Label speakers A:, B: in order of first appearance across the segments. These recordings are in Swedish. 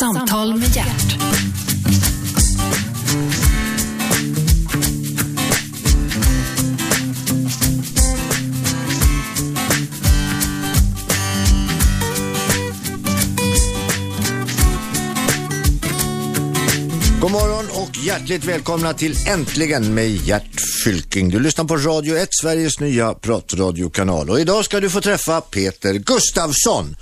A: Samtal med hjärt.
B: God morgon och hjärtligt välkomna till Äntligen med Gert Fylking. Du lyssnar på Radio 1, Sveriges nya pratradiokanal. Och idag ska du få träffa Peter Gustavsson.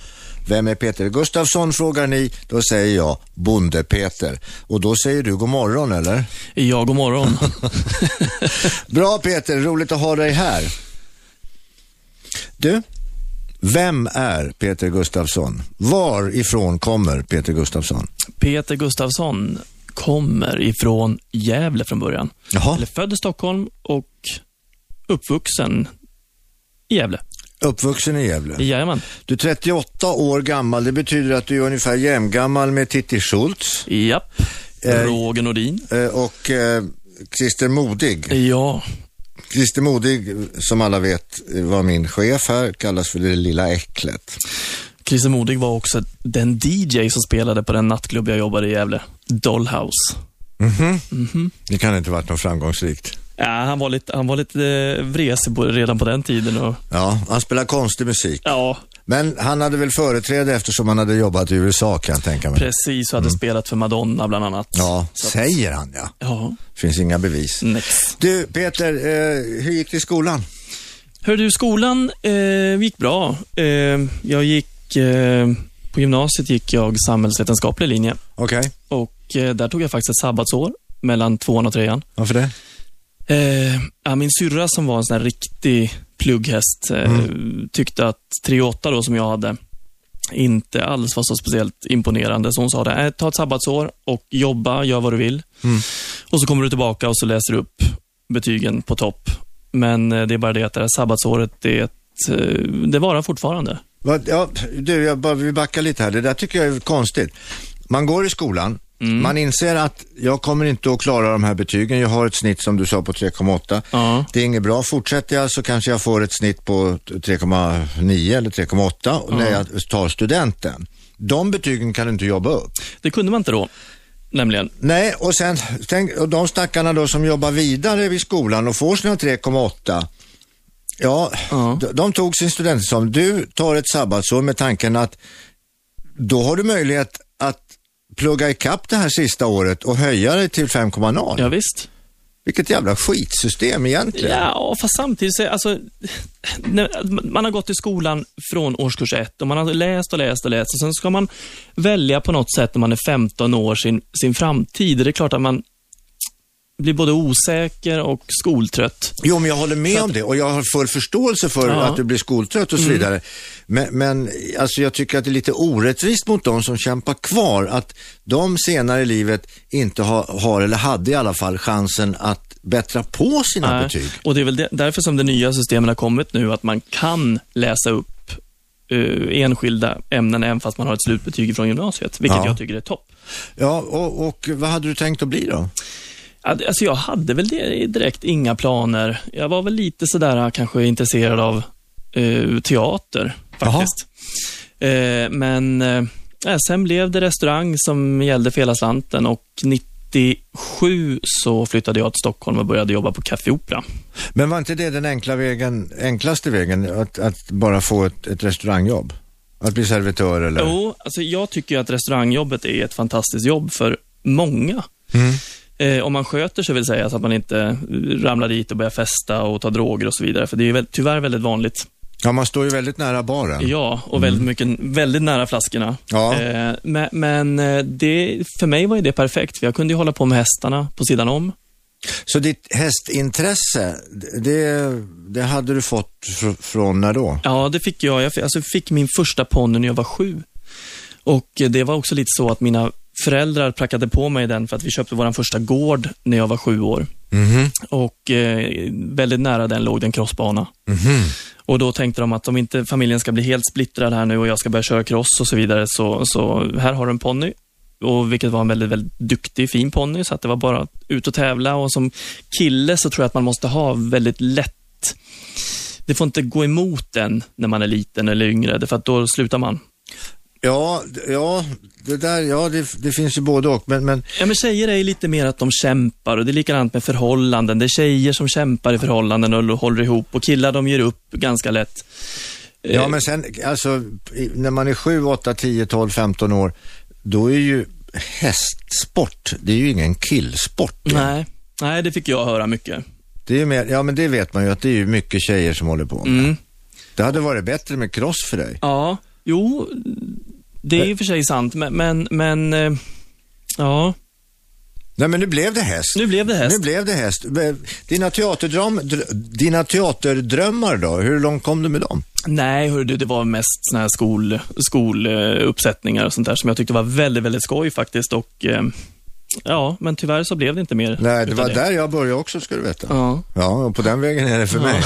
B: Vem är Peter Gustavsson frågar ni, då säger jag Bonde-Peter. Och då säger du god morgon eller?
C: Ja, god morgon.
B: Bra Peter, roligt att ha dig här. Du, vem är Peter Gustavsson? Varifrån kommer Peter Gustavsson?
C: Peter Gustafsson kommer ifrån Gävle från början.
B: Jaha.
C: Eller född i Stockholm och uppvuxen i Gävle.
B: Uppvuxen i Gävle.
C: Jajamän.
B: Du är 38 år gammal, det betyder att du är ungefär jämngammal med Titti Schultz
C: Japp.
B: Eh,
C: Roger Nordin.
B: eh, och eh, Christer Modig.
C: Ja,
B: Christer Modig, som alla vet, var min chef här, kallas för det lilla äcklet.
C: Christer Modig var också den DJ som spelade på den nattklubb jag jobbade i Gävle. Dollhouse.
B: Mhm.
C: Mhm.
B: Det kan inte ha varit något framgångsrikt.
C: Ja, han var lite, han var lite eh, vresig på- redan på den tiden. Och,
B: Ja, han spelar konstig musik.
C: ja,
B: Men han hade väl företräde eftersom han hade jobbat i USA kan jag tänka mig.
C: precis. Och hade spelat för Madonna bland annat.
B: Mm. Ja,
C: Så att- Mm.
B: säger han ja.
C: Ja,
B: Finns inga bevis.
C: next.
B: Du, Peter, eh, hur gick det i skolan?
C: Hör du, skolan eh, gick bra. Eh, jag gick, eh, på gymnasiet gick jag samhällsvetenskaplig linje
B: Okej,
C: och eh, där tog jag faktiskt ett sabbatsår mellan tvåan och trean.
B: varför det?
C: Eh, ja, min syrra som var en sån här riktig plugghäst eh, tyckte att 3,8 då som jag hade inte alls var så speciellt imponerande. Så hon sa det, "Äh, ta ett sabbatsår och jobba, gör vad du vill.
B: Mm.
C: Och så kommer du tillbaka och så läser du upp betygen på topp. Men eh, det är bara det att det här sabbatsåret, det, är ett, eh, det varar fortfarande.
B: Vad- Ja, du, jag bara, vi backar lite här. Det där tycker jag är konstigt. Man går i skolan, man inser att jag kommer inte att klara de här betygen. Jag har ett snitt som du sa på 3,8.
C: Ja.
B: Det är inget bra. Fortsätter jag så kanske jag får ett snitt på 3,9 eller 3,8 och när jag tar studenten. De betygen kan du inte jobba upp.
C: Det kunde man inte då, nämligen.
B: Nej, och sen tänk, och de stackarna då som jobbar vidare vid skolan och får sina 3,8. Ja,
C: Ja.
B: de, de tog sin studentexamen. Du tar ett sabbatsår med tanken att då har du möjlighet att plugga ikapp det här sista året och höja dig till 5,0.
C: Ja, visst.
B: Vilket jävla skitsystem egentligen.
C: Ja, fast samtidigt, så, alltså, när- man har gått i skolan från årskurs ett och man har läst och läst och läst och sen ska man välja på något sätt när man är 15 år sin, sin framtid. Det är klart att man blir både osäker och skoltrött.
B: Jo, men jag håller med om det och jag har full förståelse för
C: Ja. Mm.
B: att du blir skoltrött och så vidare. Men, men alltså, jag tycker att det är lite orättvist mot de som kämpar kvar att de senare i livet inte ha, har, eller hade i alla fall, chansen att bättra på sina
C: Nej.
B: betyg.
C: Och Det är väl det, därför som det nya systemen har kommit nu, att man kan läsa upp eh, enskilda ämnen även fast man har ett slutbetyg från gymnasiet, vilket
B: Ja.
C: jag tycker är topp.
B: Ja, och, och vad hade du tänkt att bli då?
C: Ja, det- Alltså jag hade väl det- direkt inga planer. Jag var väl lite sådär äh, kanske intresserad av eh, teater faktiskt. Eh, men eh, ja, sen blev det restaurang som gällde för hela slanten och 97 så flyttade jag till Stockholm och började jobba på Café Opera.
B: Men var inte det den enkla vägen, enklaste vägen, att, att bara få ett, ett restaurangjobb? Att bli servitör eller?
C: Jo, alltså jag tycker ju att restaurangjobbet är ett fantastiskt jobb för många. Eh, om man sköter sig vill säga, så att man inte eh, ramlar dit och börjar festa och ta droger och så vidare. För det är ju väl, tyvärr väldigt vanligt
B: Ja, man står ju väldigt nära baren.
C: Ja, och väldigt, mycket, väldigt nära flaskorna.
B: Ja.
C: Eh, men men eh, det, för mig var ju det perfekt, för jag kunde ju hålla på med hästarna på sidan om.
B: Så ditt hästintresse, det, det hade du fått fr- från när då?
C: Ja, det fick jag. Jag fick, alltså, fick min första ponny när jag var sju. Och eh, det var också lite så att mina föräldrar prackade på mig den för att vi köpte vår första gård när jag var sju år. Mhm, Och eh, väldigt nära den låg det en crossbana. mhm. Och då tänkte de att om inte familjen ska bli helt splittrad här nu och jag ska börja köra cross och så vidare, så, så här har du en ponny. Och vilket var en väldigt, väldigt duktig, fin ponny, så att det var bara ut och tävla. Och som kille så tror jag att man måste ha väldigt lätt det får inte gå emot en när man är liten eller yngre, för att då slutar man.
B: Ja, d- ja, det där, ja, det, det finns ju både och. Men, men
C: Ja, men tjejer är ju lite mer att de kämpar och det är likadant med förhållanden. Det är tjejer som kämpar i förhållanden och håller ihop och killar de ger upp ganska lätt. Eh,
B: Ja, men sen, alltså, i- när man är 7, 8, 10, 12, 15 år, då är ju hästsport, det är ju ingen killsport.
C: Eh, Nej, nej, det fick jag höra mycket.
B: Det är ju mer, ja, men det vet man ju att det är ju mycket tjejer som håller på med.
C: Mm.
B: Det hade varit bättre med cross för dig.
C: Ja, jo, det är i och för sig sant, men, men, men eh, ja,
B: Nej, men nu blev det häst.
C: nu blev det häst.
B: Nu blev det häst. Eh, Dina, teaterdröm, dr, dina teaterdrömmar då, hur långt kom du med dem?
C: Nej, hörru du, det var mest såna här skol, skoluppsättningar och sånt där som jag tyckte var väldigt, väldigt skoj faktiskt och eh, ja, men tyvärr så blev det inte mer.
B: Nej, det
C: utav
B: var där jag började också, ska du veta.
C: Ja.
B: Ja, och på den vägen är det för mig.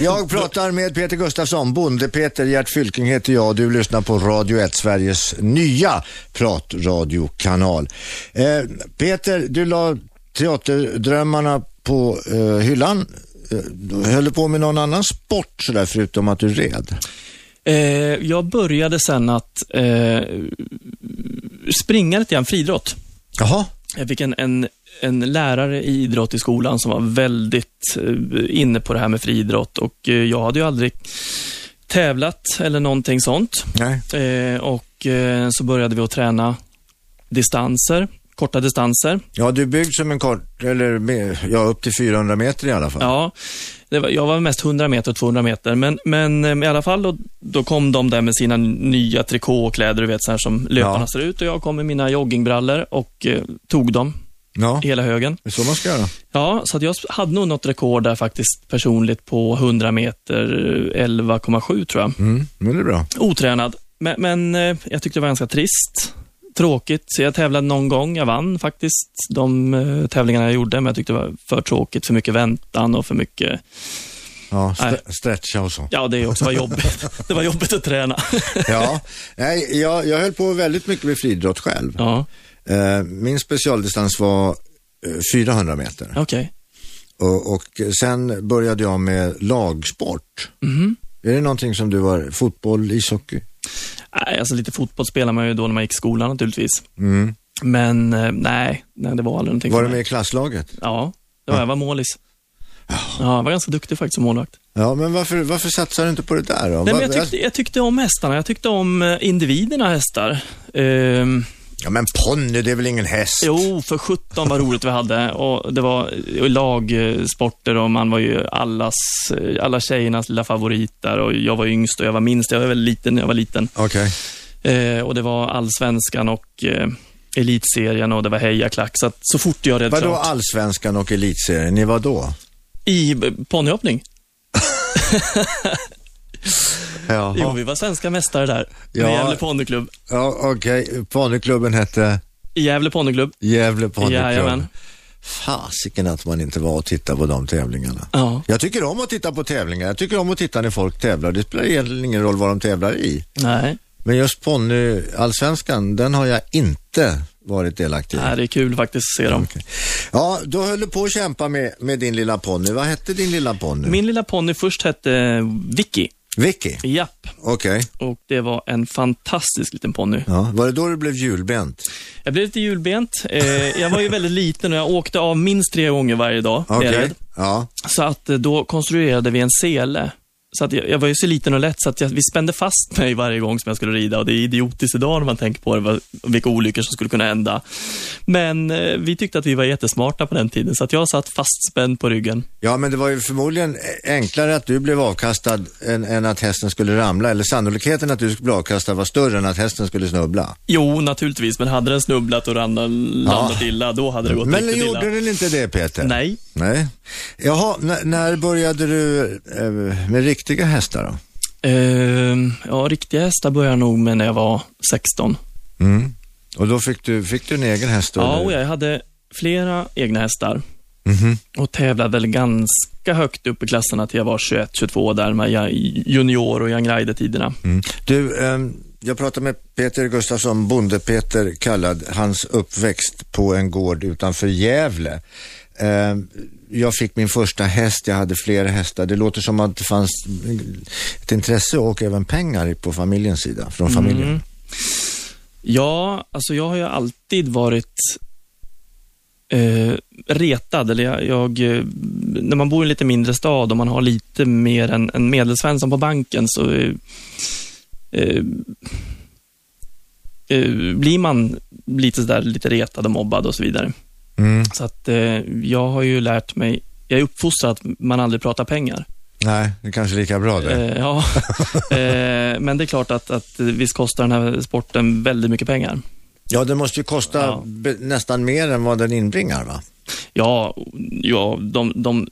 B: jag pratar med Peter Gustafsson, Bonde-Peter, Gert Fylking heter jag och du lyssnar på Radio 1, Sveriges nya pratradiokanal. Eh, Peter, du la teaterdrömmarna på eh, hyllan. Eh, Du höll på med någon annan sport sådär förutom att du red.
C: Eh, jag började sen att eh, springa lite grann friidrott.
B: Jaha.
C: Jag fick en, en, en lärare i idrott i skolan som var väldigt eh, inne på det här med friidrott och eh, jag hade ju aldrig tävlat eller någonting sånt.
B: Nej.
C: Eh, och eh, så började vi att träna distanser, korta distanser.
B: Ja, du är byggd som en kort, eller med- ja, upp till 400 meter i alla fall.
C: Ja, det var, jag var mest 100 meter och 200 meter, men, men eh, i alla fall då, då kom de där med sina nya trikåkläder, du vet, så här som löparna
B: Ja.
C: ser ut och jag kom med mina joggingbrallor och eh, tog dem,
B: Ja,
C: hela högen.
B: det är så man ska göra.
C: Ja, så att jag hade nog något rekord där faktiskt personligt på 100 meter, eh, 11,7 tror jag.
B: Mm, men det är bra.
C: Otränad, men, men eh, jag tyckte det var ganska trist. Tråkigt. Så Jag tävlade någon gång, jag vann faktiskt de eh, tävlingarna jag gjorde, men jag tyckte det var för tråkigt, för mycket väntan och för mycket
B: Ja,
C: Nej.
B: st- stretcha och så.
C: Ja, det också var jobbigt. Det var jobbigt att träna.
B: Ja, nej, jag, jag höll på väldigt mycket med friidrott själv.
C: Ja,
B: Eh, Min specialdistans var eh, 400 meter
C: okej.
B: och, och sen började jag med lagsport.
C: Mhm.
B: Är det någonting som du var, fotboll, ishockey?
C: Nej, alltså lite fotboll spelade man ju då när man gick i skolan naturligtvis.
B: Mm.
C: Men eh, nej, nej det var aldrig någonting
B: Var
C: för
B: du med
C: mig.
B: i klasslaget?
C: Ja, det var, jag var målis. Ja, jag var ganska duktig faktiskt som målvakt.
B: Ja, men varför, varför satsar du inte på det där då?
C: Nej, men
B: Va-
C: jag, tyckte, jag tyckte om hästarna. Jag tyckte om eh, individerna hästar. Ehm,
B: Ja, men ponny, det är väl ingen häst?
C: jo, för 17 vad roligt vi hade. Och det var eh, lagsporter och man var ju allas, eh, alla tjejernas lilla favorit där. Och jag var yngst och jag var minst. Jag var väldigt liten när jag var liten.
B: Okej.
C: Eh, och det var Allsvenskan och eh, Elitserien och det var Heja Klack. Så, att, så fort jag red
B: Vadå
C: klart.
B: allsvenskan och elitserien? Ni var då?
C: I eh, ponnyhoppning?
B: Ja,
C: Jo, vi var svenska mästare där.
B: Ja.
C: Med Gävle ponnyklubb.
B: ja okej. Ponnyklubben hette
C: I Gävle ponnyklubb.
B: Gävle ponnyklubb.
C: Jajamän.
B: Fasiken att man inte var och tittade på de tävlingarna.
C: Ja.
B: Jag tycker om att titta på tävlingar. Jag tycker om att titta när folk tävlar. Det spelar egentligen ingen roll vad de tävlar i.
C: Nej.
B: Men just ponny allsvenskan, den har jag inte varit delaktig i.
C: Nej, det är kul faktiskt att se dem.
B: Okej. Ja, då höll du på att kämpa med, med din lilla ponny. Vad hette din lilla ponny?
C: Min lilla ponny först hette Vicky.
B: Vicky?
C: Japp.
B: Okej.
C: Och det var en fantastisk liten ponny.
B: Ja. Var det då du blev julbent?
C: Jag blev lite julbent. Eh, jag var ju väldigt liten och jag åkte av minst tre gånger varje dag. blev jag rädd.
B: Ja.
C: Så att eh, då konstruerade vi en sele. Så att jag, jag var ju så liten och lätt så att jag, vi spände fast mig varje gång som jag skulle rida och det är idiotiskt idag när man tänker på det, vad, vilka olyckor som skulle kunna hända. Men eh, vi tyckte att vi var jättesmarta på den tiden så att jag satt fastspänd på ryggen.
B: Ja, men det var ju förmodligen enklare att du blev avkastad än, än att hästen skulle ramla. Eller sannolikheten att du skulle bli avkastad var större än att hästen skulle snubbla.
C: Jo, naturligtvis, men hade den snubblat och randat, landat illa, då hade det gått
B: Men
C: riktigt illa.
B: gjorde den inte det Peter?
C: Nej,
B: Nej. Jaha, n- när började du eh, med riktiga hästar då?
C: Ehm, ja, riktiga hästar började jag nog med när jag var 16.
B: Mm. Och då fick du, fick du en egen häst då?
C: Ja,
B: eller?
C: och jag hade flera egna hästar.
B: Mhm.
C: och tävlade väl ganska högt upp i klasserna till jag var 21-22 där med jag- junior och young rider-tiderna.
B: Mm. Du, ehm, jag pratade med Peter Gustafsson, Bonde-Peter kallad, hans uppväxt på en gård utanför Gävle. Ehm, jag fick min första häst, jag hade flera hästar. Det låter som att det fanns ett intresse och även pengar på familjens sida, från familjen.
C: Mm. Ja, alltså jag har ju alltid varit eh, retad. Eller jag, jag, eh, när man bor i en lite mindre stad och man har lite mer än, än medelsvensson på banken så eh, eh, eh, blir man lite, sådär, lite retad och mobbad och så vidare.
B: Mm.
C: Så att eh, jag har ju lärt mig, jag är uppfostrad att man aldrig pratar pengar.
B: Nej, det är kanske lika bra det.
C: Eh, ja. eh, men det är klart att, att eh, visst kostar den här sporten väldigt mycket pengar.
B: Ja, det måste ju kosta
C: Ja.
B: be- nästan mer än vad den inbringar va?
C: Ja, ja de, de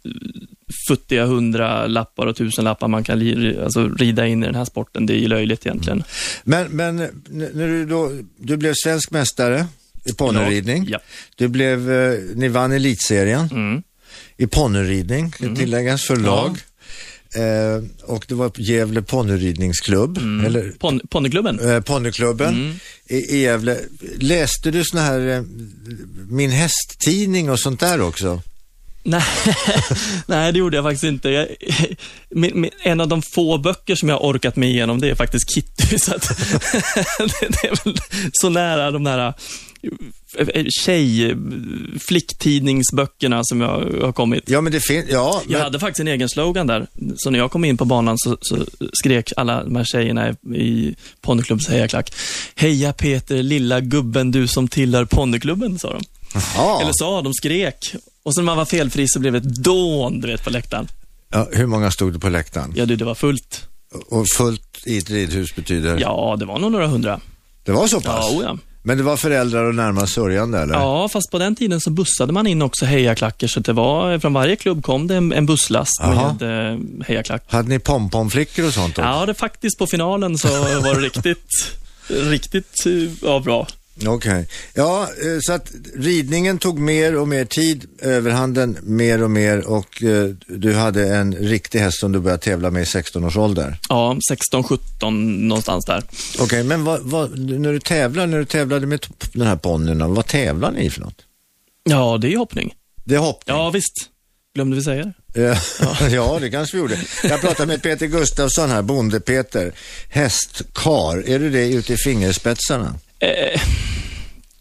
C: futtiga hundra lappar och tusen lappar man kan li, alltså, rida in i den här sporten, det är ju löjligt egentligen.
B: Mm. Men, men n- när du då, du blev svensk mästare i ponnyridning.
C: Ja.
B: Du blev, eh, ni vann elitserien
C: Mm.
B: i ponnyridning, kan tilläggas, för lag. Eh, och det var Gävle ponnyridningsklubb,
C: Mm.
B: eller
C: Pon, ponnyklubben?
B: eh, ponnyklubben
C: Mm.
B: i, i Gävle. Läste du sån här eh, Min hästtidning och sånt där också?
C: Nej, nej, det gjorde jag faktiskt inte. Jag, min, min, en av de få böcker som jag har orkat mig igenom, det är faktiskt Kitty. Så att, det, det är väl så nära de där eh, tjej, flicktidningsböckerna som jag har kommit.
B: Ja, men det finns, ja.
C: Jag
B: Men,
C: hade faktiskt en egen slogan där. Så när jag kom in på banan så, så skrek alla de här tjejerna i ponnyklubbs hejaklack. Heja Peter, lilla gubben du som tillhör ponnyklubben, sa de.
B: ja.
C: Eller sa de, skrek. Och sen när man var felfri så blev det ett dån, du vet, på läktaren.
B: ja. Hur många stod det på läktaren?
C: Ja du, det var fullt.
B: Och fullt i ett ridhus betyder?
C: Ja, det var nog några hundra.
B: Det var så pass?
C: Ja, oh ja.
B: Men det var föräldrar och närmast sörjande eller?
C: ja, fast på den tiden så bussade man in också hejaklacker, så det var, från varje klubb kom det en, en busslast
B: Jaha.
C: med eh, hejaklack.
B: Hade ni pomponflickor och sånt också?
C: Ja, det faktiskt på finalen så var det riktigt, riktigt eh, ja, bra.
B: Okej. Ja, eh, så att ridningen tog mer och mer tid, överhanden mer och mer och eh, du hade en riktig häst som du började tävla med i 16 års ålder.
C: Ja, 16, 17 någonstans där.
B: Okej, men vad, vad, när du tävlar, när du tävlade med t- den här ponnyn, vad tävlar ni i för något?
C: Ja, det är ju hoppning.
B: Det är hopp.
C: Ja, visst. Glömde vi säga det?
B: Eh, ja, det kanske vi gjorde. Jag pratade med Peter Gustafsson här, bonde-Peter. Hästkar, är du det ute i fingerspetsarna?
C: Eh,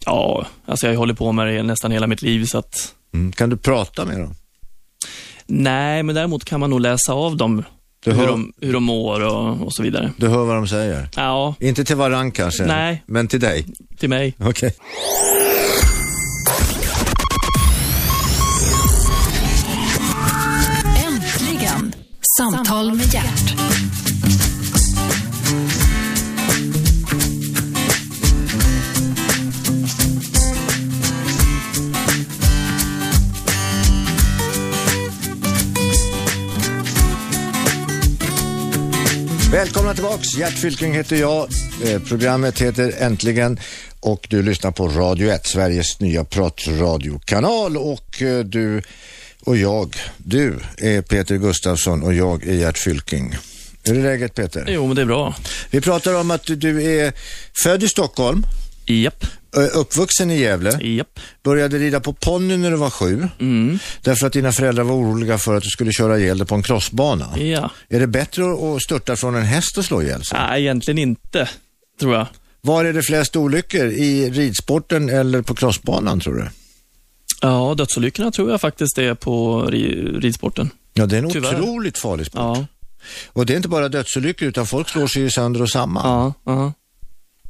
C: ja, alltså jag har ju hållit på med det nästan hela mitt liv, så att
B: Mm. Kan du prata med dem?
C: nej, men däremot kan man nog läsa av dem.
B: Du
C: Hur
B: hör-
C: de, hur de mår och, och så vidare.
B: Du hör vad de säger?
C: Ja,
B: Inte till varann kanske?
C: Nej.
B: Men till dig?
C: till mig.
B: Okej.
A: Äntligen! Samtal med hjärt.
B: Välkomna tillbaks. Gert Fylking heter jag. Eh, programmet heter Äntligen och du lyssnar på Radio 1, Sveriges nya pratradiokanal och eh, du och jag, du är Peter Gustafsson och jag är Gert Fylking. Hur är läget Peter?
C: Jo, men det är bra.
B: Vi pratar om att du- du är född i Stockholm,
C: Japp,
B: eh, uppvuxen i Gävle,
C: japp.
B: började rida på ponny när du var sju.
C: Mm.
B: Därför att dina föräldrar var oroliga för att du skulle köra ihjäl dig på en crossbana.
C: Ja.
B: Är det bättre att- att störta från en häst och slå ihjäl sig?
C: Nej, egentligen inte, tror jag.
B: Var är det flest olyckor? I ridsporten eller på crossbanan tror du?
C: Ja, dödsolyckorna tror jag faktiskt är på ri- ridsporten.
B: Ja, det är en
C: Tyvärr.
B: otroligt farlig sport.
C: Ja,
B: Och det är inte bara dödsolyckor utan folk slår sig ju sönder och samman.
C: ja, Mm. ja.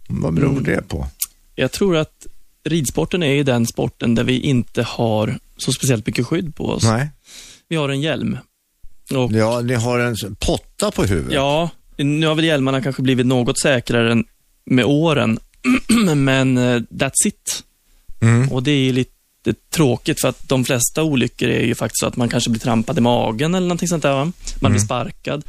B: Vad beror det på?
C: Jag tror att ridsporten är ju den sporten där vi inte har så speciellt mycket skydd på oss.
B: Nej.
C: Vi har en hjälm. Och
B: Ja, ni har en s- potta på huvudet.
C: ja, nu har väl hjälmarna kanske blivit något säkrare än med åren, men eh, that's it.
B: Mm.
C: Och det är ju lite tråkigt för att de flesta olyckor är ju faktiskt så att man kanske blir trampad i magen eller någonting sånt där. Va? Man blir
B: Mm.
C: sparkad.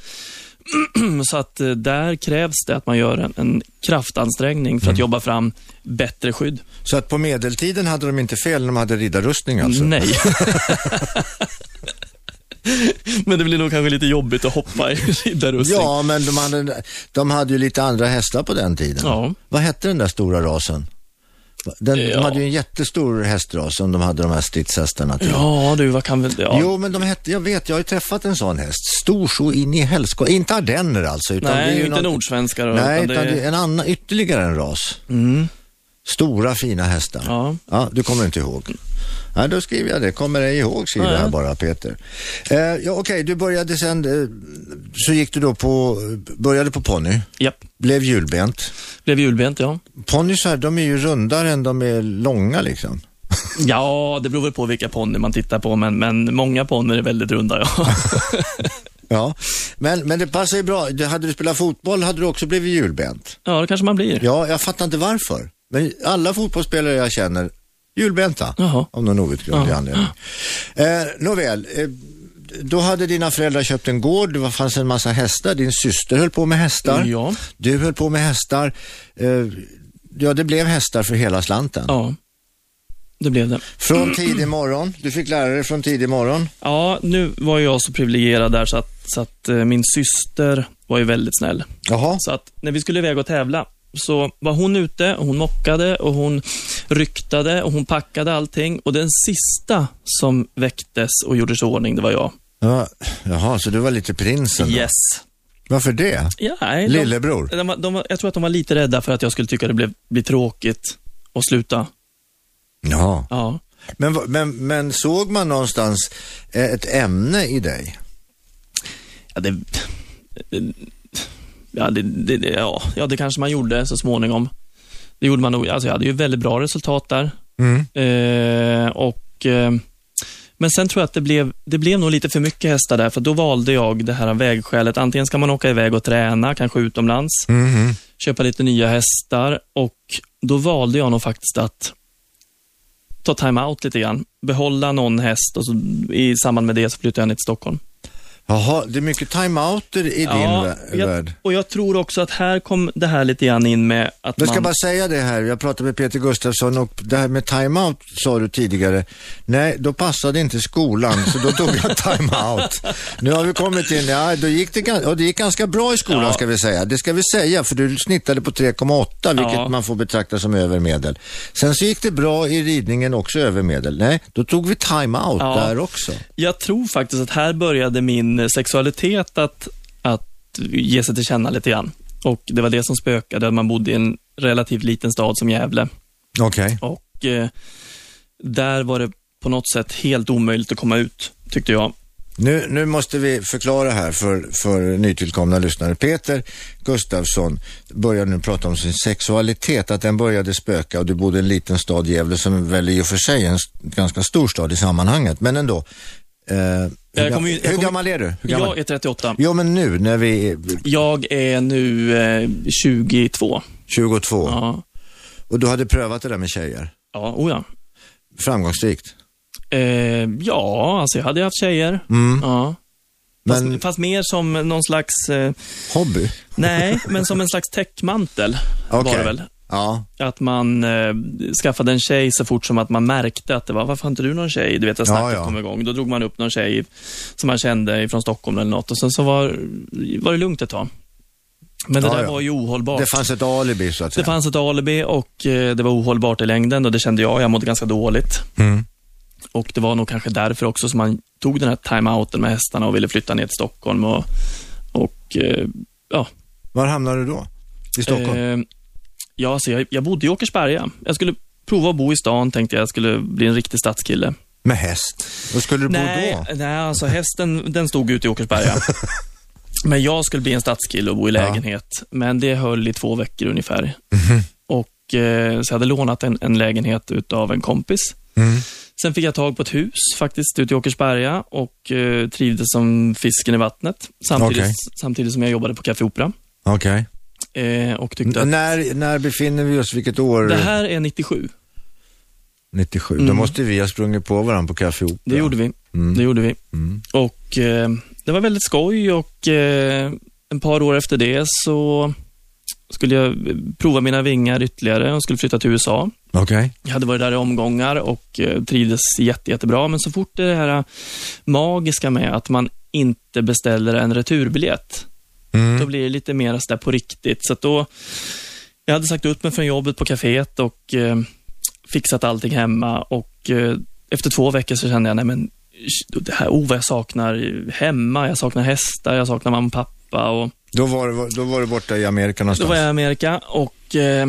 C: så att eh, där krävs det att man gör en, en kraftansträngning för
B: Mm.
C: att jobba fram bättre skydd.
B: Så att på medeltiden hade de inte fel när de hade riddarrustning alltså?
C: Nej. Men det blir nog kanske lite jobbigt att hoppa i riddarrustning.
B: Ja, men de hade, de hade ju lite andra hästar på den tiden.
C: Ja.
B: Vad hette den där stora rasen? Den, De
C: Ja.
B: hade ju en jättestor hästras som de hade de här stridshästarna till.
C: Ja, du, vad kan väl... Ja.
B: Jo, men de hette, jag vet, jag har ju träffat en sån häst. Stor så in i helskotta. Inte ardenner alltså. Utan
C: Nej,
B: det är ju
C: inte
B: någon-
C: nordsvenskar.
B: Nej,
C: utan
B: utan det
C: det...
B: är en annan, ytterligare en ras.
C: Mm.
B: Stora fina hästar.
C: Ja.
B: du kommer inte ihåg. Ja, då skriver jag det. Kommer ej ihåg, skriver
C: Ja.
B: jag bara, Peter. Eh, ja, Okej, du började sen, eh, så gick du då på, började på ponny,
C: Japp,
B: blev julbent.
C: blev julbent ja.
B: Ponnysar, de är ju rundare än de är långa liksom.
C: Ja, det beror väl på vilka ponny man tittar på, men, men många ponnyer är väldigt runda ja.
B: Ja, men, men det passar ju bra. Du, hade du spelat fotboll hade du också blivit julbent.
C: Ja, det kanske man blir.
B: Ja, jag fattar inte varför. Men alla fotbollsspelare jag känner, julbenta.
C: Jaha.
B: Av någon outgrundlig anledning. Eh, nåväl, eh, då hade dina föräldrar köpt en gård, det var- fanns en massa hästar, din syster höll på med hästar.
C: Ja.
B: Du höll på med hästar. Eh, ja, det blev hästar för hela slanten.
C: Ja, det blev det.
B: Från tidig morgon, du fick lära dig från tidig morgon.
C: Ja, nu var ju jag så privilegierad där så att, så att eh, min syster var ju väldigt snäll.
B: Jaha.
C: Så att när vi skulle iväg och tävla så var hon ute, och hon mockade och hon ryktade och hon packade allting. Och den sista som väcktes och gjordes i ordning, det var jag.
B: Ja, jaha, så du var lite prinsen. då.
C: Yes.
B: Varför det?
C: Ja, nej, de,
B: Lillebror?
C: de, var- de, var- jag tror att de var lite rädda för att jag skulle tycka det blev, bli tråkigt och sluta.
B: Ja.
C: Ja.
B: Men, va- men, men såg man någonstans eh, ett ämne i dig?
C: Ja, det... Ja det, det, det, ja, ja, det kanske man gjorde så småningom. Det gjorde man nog. Alltså, jag hade ju väldigt bra resultat där. Eh, och, eh, men sen tror jag att det blev, det blev nog lite för mycket hästar där, för då valde jag det här vägskälet. Antingen ska man åka iväg och träna, kanske utomlands,
B: Mm-hmm.
C: köpa lite nya hästar och då valde jag nog faktiskt att ta time-out lite grann. Behålla någon häst och så, i samband med det så flyttade jag ner till Stockholm.
B: Jaha, det är mycket timeouter i din vä-
C: jag,
B: värld.
C: och jag tror också att här kom det här lite grann in med att
B: Jag ska
C: man...
B: bara säga det här, jag pratade med Peter Gustafsson och det här med timeout sa du tidigare. Nej, då passade inte skolan så då tog jag timeout. Nu har vi kommit in, ja, då gick det, gan- och det gick ganska bra i skolan
C: Ja.
B: ska vi säga. Det ska vi säga för du snittade på 3,8 vilket
C: Ja.
B: man får betrakta som övermedel. Sen så gick det bra i ridningen också övermedel. Nej, då tog vi timeout
C: Ja.
B: där också.
C: Jag tror faktiskt att här började min sexualitet att, att ge sig till känna lite grann. Och det var det som spökade, att man bodde i en relativt liten stad som Gävle.
B: Okej.
C: Och eh, där var det på något sätt helt omöjligt att komma ut, tyckte jag.
B: Nu, nu måste vi förklara här för, för nytillkomna lyssnare. Peter Gustafsson börjar nu prata om sin sexualitet, att den började spöka och du bodde i en liten stad, Gävle, som väl i och för sig är en s- ganska stor stad i sammanhanget, men ändå. Eh, hur,
C: Jag
B: gam-
C: kommer ju- jag
B: hur
C: kommer-
B: gammal är du? Hur gammal?
C: Jag är 38.
B: Jo, men nu när vi är
C: Jag är nu eh, 22.
B: 22
C: Ja,
B: och du hade prövat det där med tjejer,
C: ja, oh ja.
B: framgångsrikt.
C: Eh, ja, alltså jag hade haft tjejer. Ja. Fast,
B: Mm. Men-
C: fast mer som någon slags, eh,
B: Hobby?
C: nej, men som en slags täckmantel var
B: Okej.
C: det väl.
B: Ja,
C: Att man eh, skaffade en tjej så fort som att man märkte att det var, varför har inte du någon tjej? Du vet, när snacket
B: Ja, ja.
C: kom igång. Då drog man upp någon tjej som man kände från Stockholm eller något och sen så var, var det lugnt ett tag. Men det
B: Ja,
C: där
B: ja.
C: var ju ohållbart.
B: det fanns ett alibi så att
C: Det
B: säga.
C: fanns ett alibi och eh, det var ohållbart i längden och det kände jag. Jag mådde ganska dåligt.
B: Mm.
C: Och det var nog kanske därför också som man tog den här timeouten med hästarna och ville flytta ner till Stockholm och, och eh, ja.
B: Var hamnade du då? I Stockholm?
C: Eh, ja, så jag, jag bodde i Åkersberga. Jag skulle prova att bo i stan, tänkte jag. Jag skulle bli en riktig stadskille.
B: Med häst? Var skulle du bo
C: Nej,
B: då?
C: nej, alltså hästen, den stod ute i Åkersberga. Men jag skulle bli en stadskille och bo i lägenhet. Men det höll i två veckor ungefär.
B: Mm-hmm.
C: Och eh, Så jag hade lånat en, en lägenhet utav en kompis.
B: Mm.
C: Sen fick jag tag på ett hus faktiskt ute i Åkersberga och eh, trivdes som fisken i vattnet. Samtidigt,
B: Okej.
C: samtidigt som jag jobbade på Café Opera.
B: Okej.
C: Eh, och tyckte att
B: N- när, när befinner vi oss? Vilket år?
C: det här är 97.
B: 97. Då
C: Mm.
B: måste vi ha sprungit på varandra på Café Opera.
C: Det gjorde vi.
B: Mm.
C: Det gjorde vi.
B: Mm.
C: Och eh, det var väldigt skoj och eh, en par år efter det så skulle jag eh, prova mina vingar ytterligare och skulle flytta till USA.
B: Okej.
C: Jag hade varit där i omgångar och eh, trivdes jätte, jättebra, men så fort det här magiska med att man inte beställer en returbiljett,
B: Mm.
C: då blir det lite mer sådär på riktigt. Så att då, jag hade sagt upp mig från jobbet på kaféet och eh, fixat allting hemma och eh, efter två veckor så kände jag, nej men sh- det här, oh vad jag saknar hemma, jag saknar hästar, jag saknar mamma och pappa och
B: Då, var, du- då var du borta i Amerika
C: då
B: någonstans?
C: var jag i Amerika och eh,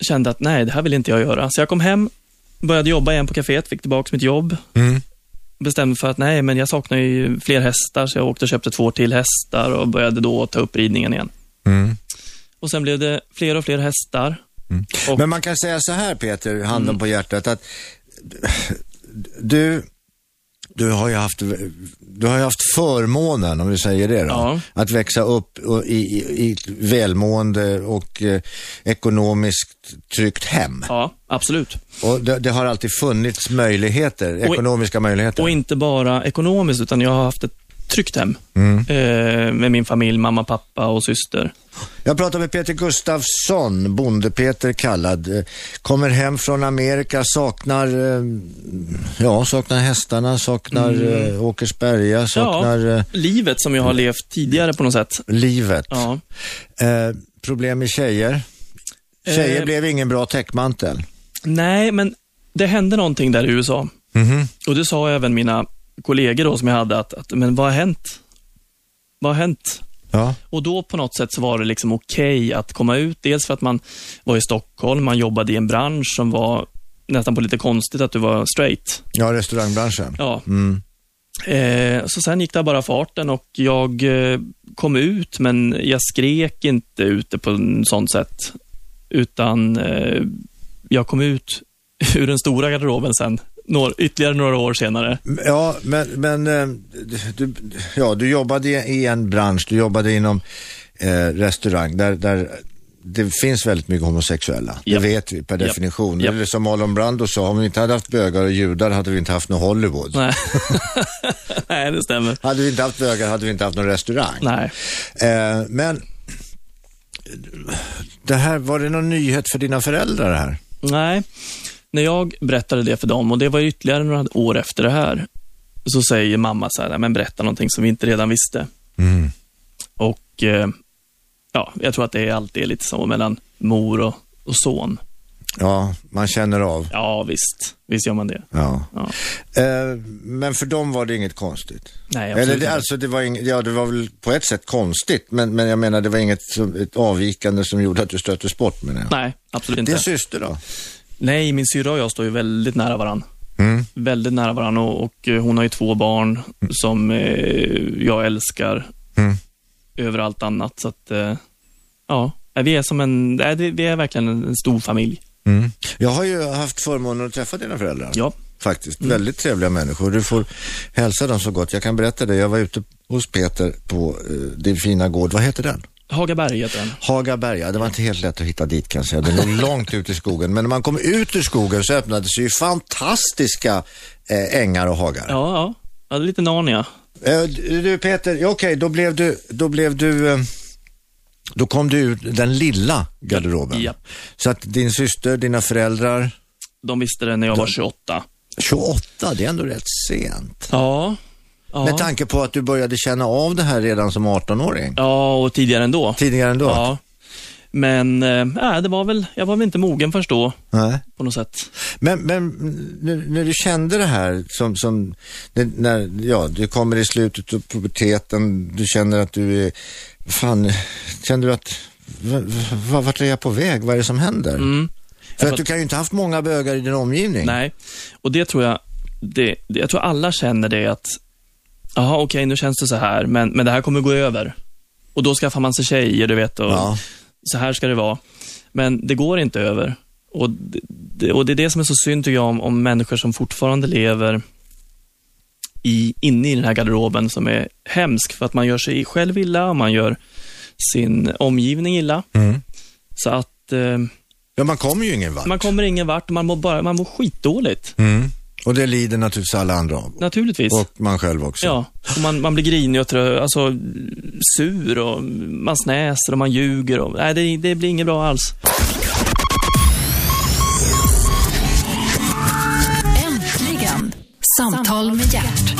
C: kände att nej, det här vill inte jag göra. Så jag kom hem, började jobba igen på kaféet, fick tillbaka mitt jobb.
B: Mm.
C: Bestämde för att nej, men jag saknar ju fler hästar, så jag åkte och köpte två till hästar och började då ta upp ridningen igen.
B: Mm.
C: Och sen blev det fler och fler hästar. Och- Mm.
B: Men man kan säga så här Peter, handen på hjärtat, att du, du har ju haft, du har ju haft förmånen, om vi säger det då,
C: Ja.
B: att växa upp och i, i, i ett välmående och eh, ekonomiskt tryggt hem.
C: Ja, absolut.
B: Och det, det har alltid funnits möjligheter,
C: Och i-
B: ekonomiska möjligheter.
C: Och inte bara ekonomiskt, utan jag har haft ett tryggt hem.
B: Mm.
C: Eh, med min familj, mamma, pappa och syster.
B: Jag pratar med Peter Gustafsson, bonde-Peter kallad. eh, Kommer hem från Amerika, saknar, eh, ja, saknar hästarna, saknar
C: Mm.
B: eh, Åkersberga, saknar eh,
C: Livet som jag har levt tidigare på något sätt.
B: livet.
C: Ja.
B: Eh, problem med tjejer. Tjejer
C: Eh.
B: blev ingen bra täckmantel.
C: Nej, men det hände någonting där i USA. Och det sa även mina kollegor då som jag hade att, att men vad har hänt? Vad har hänt?
B: Ja.
C: Och då på något sätt så var det liksom okej att komma ut. Dels för att man var i Stockholm, man jobbade i en bransch som var nästan på lite konstigt att du var straight.
B: ja, restaurangbranschen.
C: Ja.
B: Mm.
C: Eh, så sen gick det bara farten och jag eh, kom ut, men jag skrek inte ute på en sånt sätt. Utan eh, jag kom ut ur den stora garderoben sen, några, ytterligare några år senare.
B: Ja, men, men eh, du, ja, du jobbade i- i en bransch, du jobbade inom eh, restaurang där, där det finns väldigt mycket homosexuella.
C: Japp.
B: Det vet vi per
C: Japp.
B: definition.
C: Japp.
B: Eller som Marlon Brando sa, om vi inte hade haft bögar och judar hade vi inte haft någon Hollywood.
C: Nej, Nej det stämmer.
B: Hade vi inte haft bögar hade vi inte haft någon restaurang.
C: Nej.
B: Eh, men det här, var det någon nyhet för dina föräldrar det här?
C: Nej, när jag berättade det för dem och det var ytterligare några år efter det här, så säger mamma så här, "Nej, men berätta någonting som vi inte redan visste. Och eh, ja, jag tror att det är alltid lite så mellan mor och, och son.
B: Ja, man känner av.
C: Ja, visst. Visst gör man det.
B: Ja.
C: Ja.
B: Eh, men för dem var det inget konstigt?
C: Nej, absolut
B: Eller det,
C: inte.
B: alltså det var ing, ja det var väl på ett sätt konstigt, men, men jag menar det var inget som, ett avvikande som gjorde att du stöttes bort menar jag.
C: Nej, absolut inte.
B: Din syster då?
C: Nej, min syrra och jag står ju väldigt nära varann.
B: Mm.
C: Väldigt nära varann och, och eh, hon har ju två barn som eh, jag älskar
B: Mm.
C: över allt annat. Så att, eh, ja, Nej, vi är som en, nej, det- vi är verkligen en en stor familj.
B: Jag har ju haft förmånen att träffa dina föräldrar.
C: Mm. Ja. Mm.
B: Faktiskt, väldigt trevliga människor. Du får hälsa dem så gott. Jag kan berätta det, jag var ute hos Peter på eh, din fina gård, vad heter den?
C: Hagaberg heter den.
B: Hagaberga, det var inte helt lätt att hitta dit kan jag säga. Den låg långt ut i skogen. Men när man kom ut ur skogen så öppnades ju fantastiska eh, ängar och hagar.
C: Ja, ja. ja det är lite Narnia.
B: Eh, du du, Peter, ja, okej, då blev du, då blev du, eh, då kom du ur den lilla garderoben.
C: Ja.
B: Så att din syster, dina föräldrar,
C: De visste det när jag var 28.
B: 28, det är ändå rätt sent.
C: Ja. Ja,
B: Med tanke på att du började känna av det här redan som 18-åring.
C: ja och tidigare ändå.
B: Tidigare ändå?
C: Ja. Men, eh, nej, det var väl, jag var väl inte mogen först då,
B: Nej.
C: på något sätt.
B: Men, men när, när du kände det här som, som när, när, ja, du kommer i slutet av puberteten, du känner att du är, fan, kände du att, v, v, vart är jag på väg, vad är det som händer?
C: Mm.
B: För att du kan ju inte ha haft många bögar i din omgivning.
C: Alltså- Nej, och det tror jag, det, det, jag tror alla känner det att, jaha okej nu känns det så här, men, men det här kommer gå över. Och då skaffar man sig tjejer, du vet, och
B: Ja.
C: så här ska det vara. Men det går inte över. Och det, det- och det är det som är så synd tycker jag om, om människor som fortfarande lever i, inne i den här garderoben som är hemsk, för att man gör sig själv illa, och man gör sin omgivning illa. Så att eh,
B: Ja, man kommer ju ingen vart.
C: Mm. man kommer ingen vart, man mår, bara, man mår skitdåligt.
B: Mm. Och det lider naturligtvis alla andra av.
C: Naturligtvis.
B: Och man själv också.
C: Ja, och man, man blir grinig och trö, alltså sur och man snäser och man ljuger. Och, nej, det, det blir inget bra alls.
A: Äntligen! Samtal med hjärt.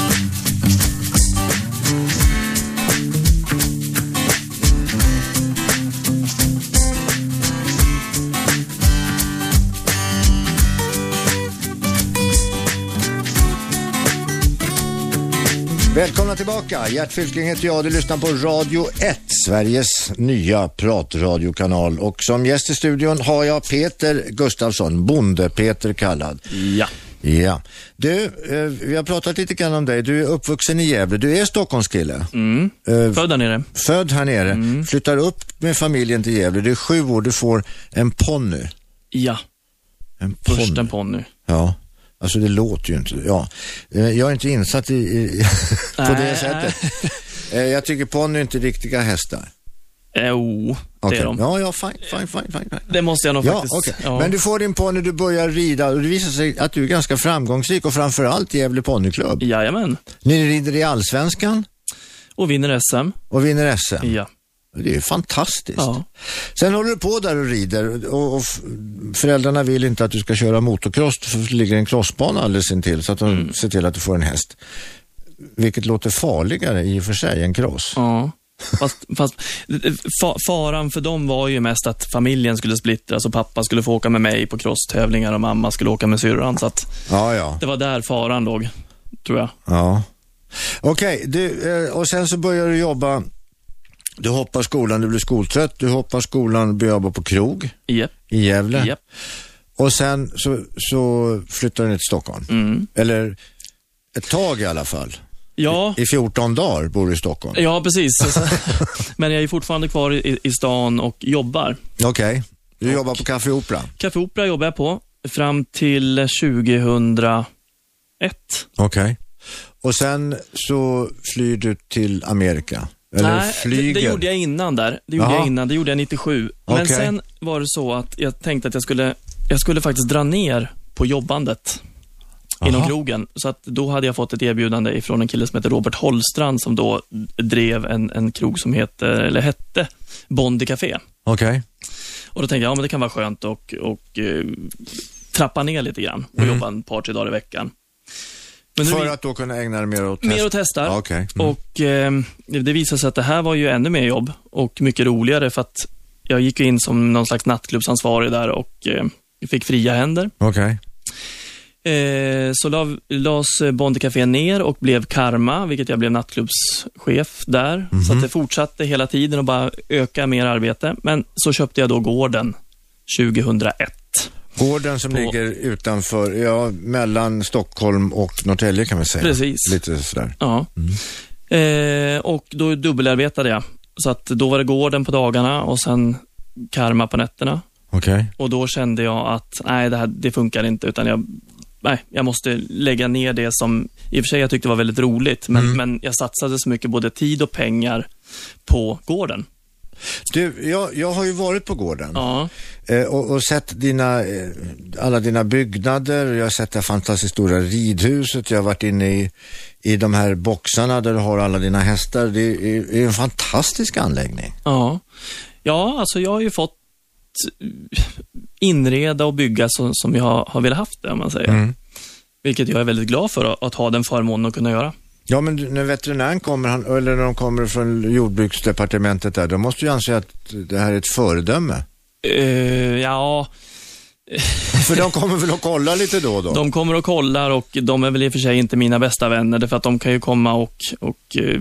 B: Välkomna tillbaka. Gert Fylking heter jag. Du lyssnar på Radio 1, Sveriges nya pratradiokanal. Och som gäst i studion har jag Peter Gustafsson, Bonde-Peter kallad.
C: Ja.
B: Ja. Du, eh, vi har pratat lite grann om dig. Du är uppvuxen i Gävle. Du är Stockholmskille.
C: Mm.
B: Eh,
C: Född där nere.
B: född här nere,
C: Mm.
B: flyttar upp med familjen till Gävle. Du är sju år, du får en ponny.
C: Ja,
B: En
C: först
B: ponny.
C: en ponny.
B: Ja. Alltså det låter ju inte, ja. Eh, Jag är inte insatt i, i på det
C: Nej,
B: sättet. Eh, Jag tycker ponny är inte riktiga hästar.
C: Eh, oh, det
B: Okej.
C: är de.
B: Ja, ja, fine, fine, fine, fine. fine.
C: Det måste jag nog
B: Ja,
C: faktiskt.
B: okej.
C: ja.
B: Men du får din ponny, du börjar rida och det visar sig att du är ganska framgångsrik och framförallt i Gävle ponnyklubb.
C: Jajamän.
B: Ni rider i Allsvenskan
C: Och vinner SM.
B: och vinner SM.
C: Ja.
B: Det är ju fantastiskt.
C: Ja.
B: Sen håller du på där och rider och, och f- föräldrarna vill inte att du ska köra motocross för det ligger en crossbana alldeles intill så att de
C: Mm.
B: ser till att du får en häst. Vilket låter farligare i och för sig än cross.
C: ja. Fast, fast fa- faran för dem var ju mest att familjen skulle splittras och pappa skulle få åka med mig på crosstävlingar och mamma skulle åka med syrran. Så att
B: Ja, ja.
C: det var där faran låg, tror jag.
B: ja. Okej, du, eh, och sen så börjar du jobba. Du hoppar skolan, du blir skoltrött. Du hoppar skolan, börjar jobba på krog
C: Japp.
B: i Gävle.
C: Japp.
B: Och sen så, så flyttar du ner till Stockholm.
C: Mm.
B: Eller ett tag i alla fall.
C: Ja.
B: I 14 dagar bor du i Stockholm.
C: Ja, precis. Men jag är fortfarande kvar i, i stan och jobbar.
B: Okej. Du jobbar på Café Opera.
C: Café Opera jobbar jag på fram till 2001.
B: Okej. Och sen så flyr du till Amerika. Eller
C: Nej,
B: flyger.
C: Det, det gjorde jag innan där. Det gjorde
B: Jaha.
C: jag innan. Det gjorde jag 97. Men
B: Okej.
C: sen var det så att jag tänkte att jag skulle, jag skulle faktiskt dra ner på jobbandet inom
B: Jaha.
C: krogen. Så att då hade jag fått ett erbjudande ifrån en kille som heter Robert Holstrand som då drev en, en krog som heter, eller hette Bondi Café.
B: Okej.
C: Och då tänkte jag, ja men det kan vara skönt och, och eh, trappa ner lite grann och jobba ett par, tre dagar i veckan. Men nu
B: Mm. För att då kunna ägna dig mer åt
C: mer
B: häst-
C: och testar.
B: Ja, Okej. Mm.
C: Och eh, det visade sig att det här var ju ännu mer jobb och mycket roligare för att jag gick ju in som någon slags nattklubbsansvarig där och eh, fick fria händer.
B: Okej.
C: Eh, så la, las Bonde Café ner och blev Karma, vilket jag blev nattklubbschef där.
B: Mhm.
C: Så att det fortsatte hela tiden och bara öka mer arbete. Men så köpte jag då gården 2001.
B: Gården som
C: På-
B: ligger utanför, ja, mellan Stockholm och Norrtälje kan man säga.
C: Precis.
B: Lite sådär.
C: Ja. Eh, och då dubbelarbetade jag. Så att då var det gården på dagarna och sen karma på nätterna.
B: Okej.
C: Och då kände jag att nej, det här det funkar inte utan jag, nej, jag måste lägga ner det som i och för sig jag tyckte var väldigt roligt. Men, men jag satsade så mycket både tid och pengar på gården.
B: Du, jag, jag har ju varit på gården.
C: Ja,
B: Eh, och, och sett dina, eh, alla dina byggnader, jag har sett det här fantastiskt stora ridhuset, jag har varit inne i, i de här boxarna där du har alla dina hästar. Det är, är är en fantastisk anläggning.
C: ja. ja alltså jag har ju fått eh, inreda och bygga så, som jag har, har velat haft det, om man säger. Vilket jag är väldigt glad för, att, att ha den förmånen att kunna göra.
B: Ja, men du- när veterinären kommer, han, eller när de kommer från jordbruksdepartementet där, de måste ju anse att det här är ett föredöme.
C: Eh, ja,
B: För de kommer väl att kolla lite då och då?
C: de kommer och kollar och de är väl i och för sig inte mina bästa vänner, därför att de kan ju komma och, och eh,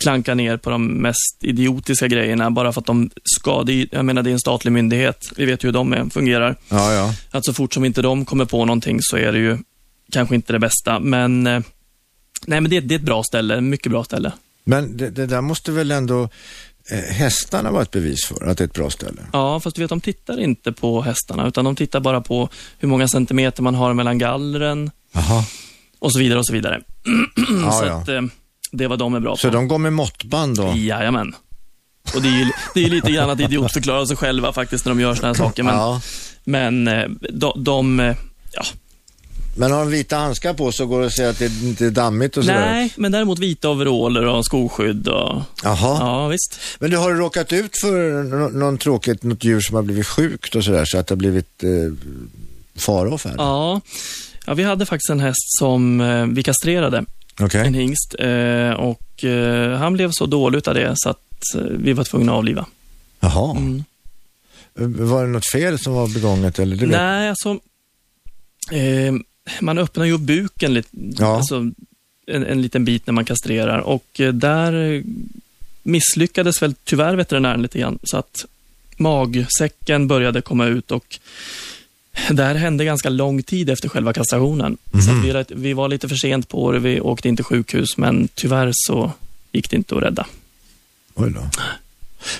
C: klanka ner på de mest idiotiska grejerna bara för att de ska. Det är, jag menar, det är en statlig myndighet. Vi vet ju hur de är, fungerar.
B: Ja, ja.
C: Att så fort som inte de kommer på någonting så är det ju kanske inte det bästa, men eh, Nej, men det, det är ett bra ställe, mycket bra ställe.
B: Men det, det där måste väl ändå eh, hästarna vara ett bevis för, att det är ett bra ställe?
C: Ja, fast du vet, de tittar inte på hästarna, utan de tittar bara på hur många centimeter man har mellan gallren
B: Jaha.
C: och så vidare och så vidare.
B: Ja,
C: så
B: ja.
C: att, eh, det var de är bra
B: Så
C: på.
B: de går med måttband då?
C: Jajamän. Och det är ju det är ju lite grann att idiotförklara sig själva faktiskt när de gör såna här saker. Men,
B: Ja.
C: men eh, de, de eh, ja.
B: Men har de vita handskar på så går det att säga att det inte är dammigt och sådär?
C: Nej, men däremot vita overaller och skoskydd och,
B: Jaha.
C: ja visst.
B: Men du har du råkat ut för nå- någon tråkigt, något djur som har blivit sjukt och sådär så att det har blivit eh, fara och färd?
C: Ja. ja, vi hade faktiskt en häst som eh, vi kastrerade,
B: Okej.
C: en hingst. Eh, och eh, han blev så dålig utav det så att eh, vi var tvungna att avliva.
B: Jaha. Eh,
C: Mm.
B: Var det något fel som var begånget eller? Du vet-
C: Nej, alltså. Eh, man öppnar ju upp buken lite,
B: Ja.
C: alltså, en, en liten bit när man kastrerar och eh, där eh, misslyckades väl tyvärr veterinären lite grann, så att magsäcken började komma ut och det här hände ganska lång tid efter själva kastrationen.
B: Mhm.
C: Så att vi, rätt- vi var lite för sent på det, vi åkte inte sjukhus, men tyvärr så gick det inte att rädda.
B: Oj då.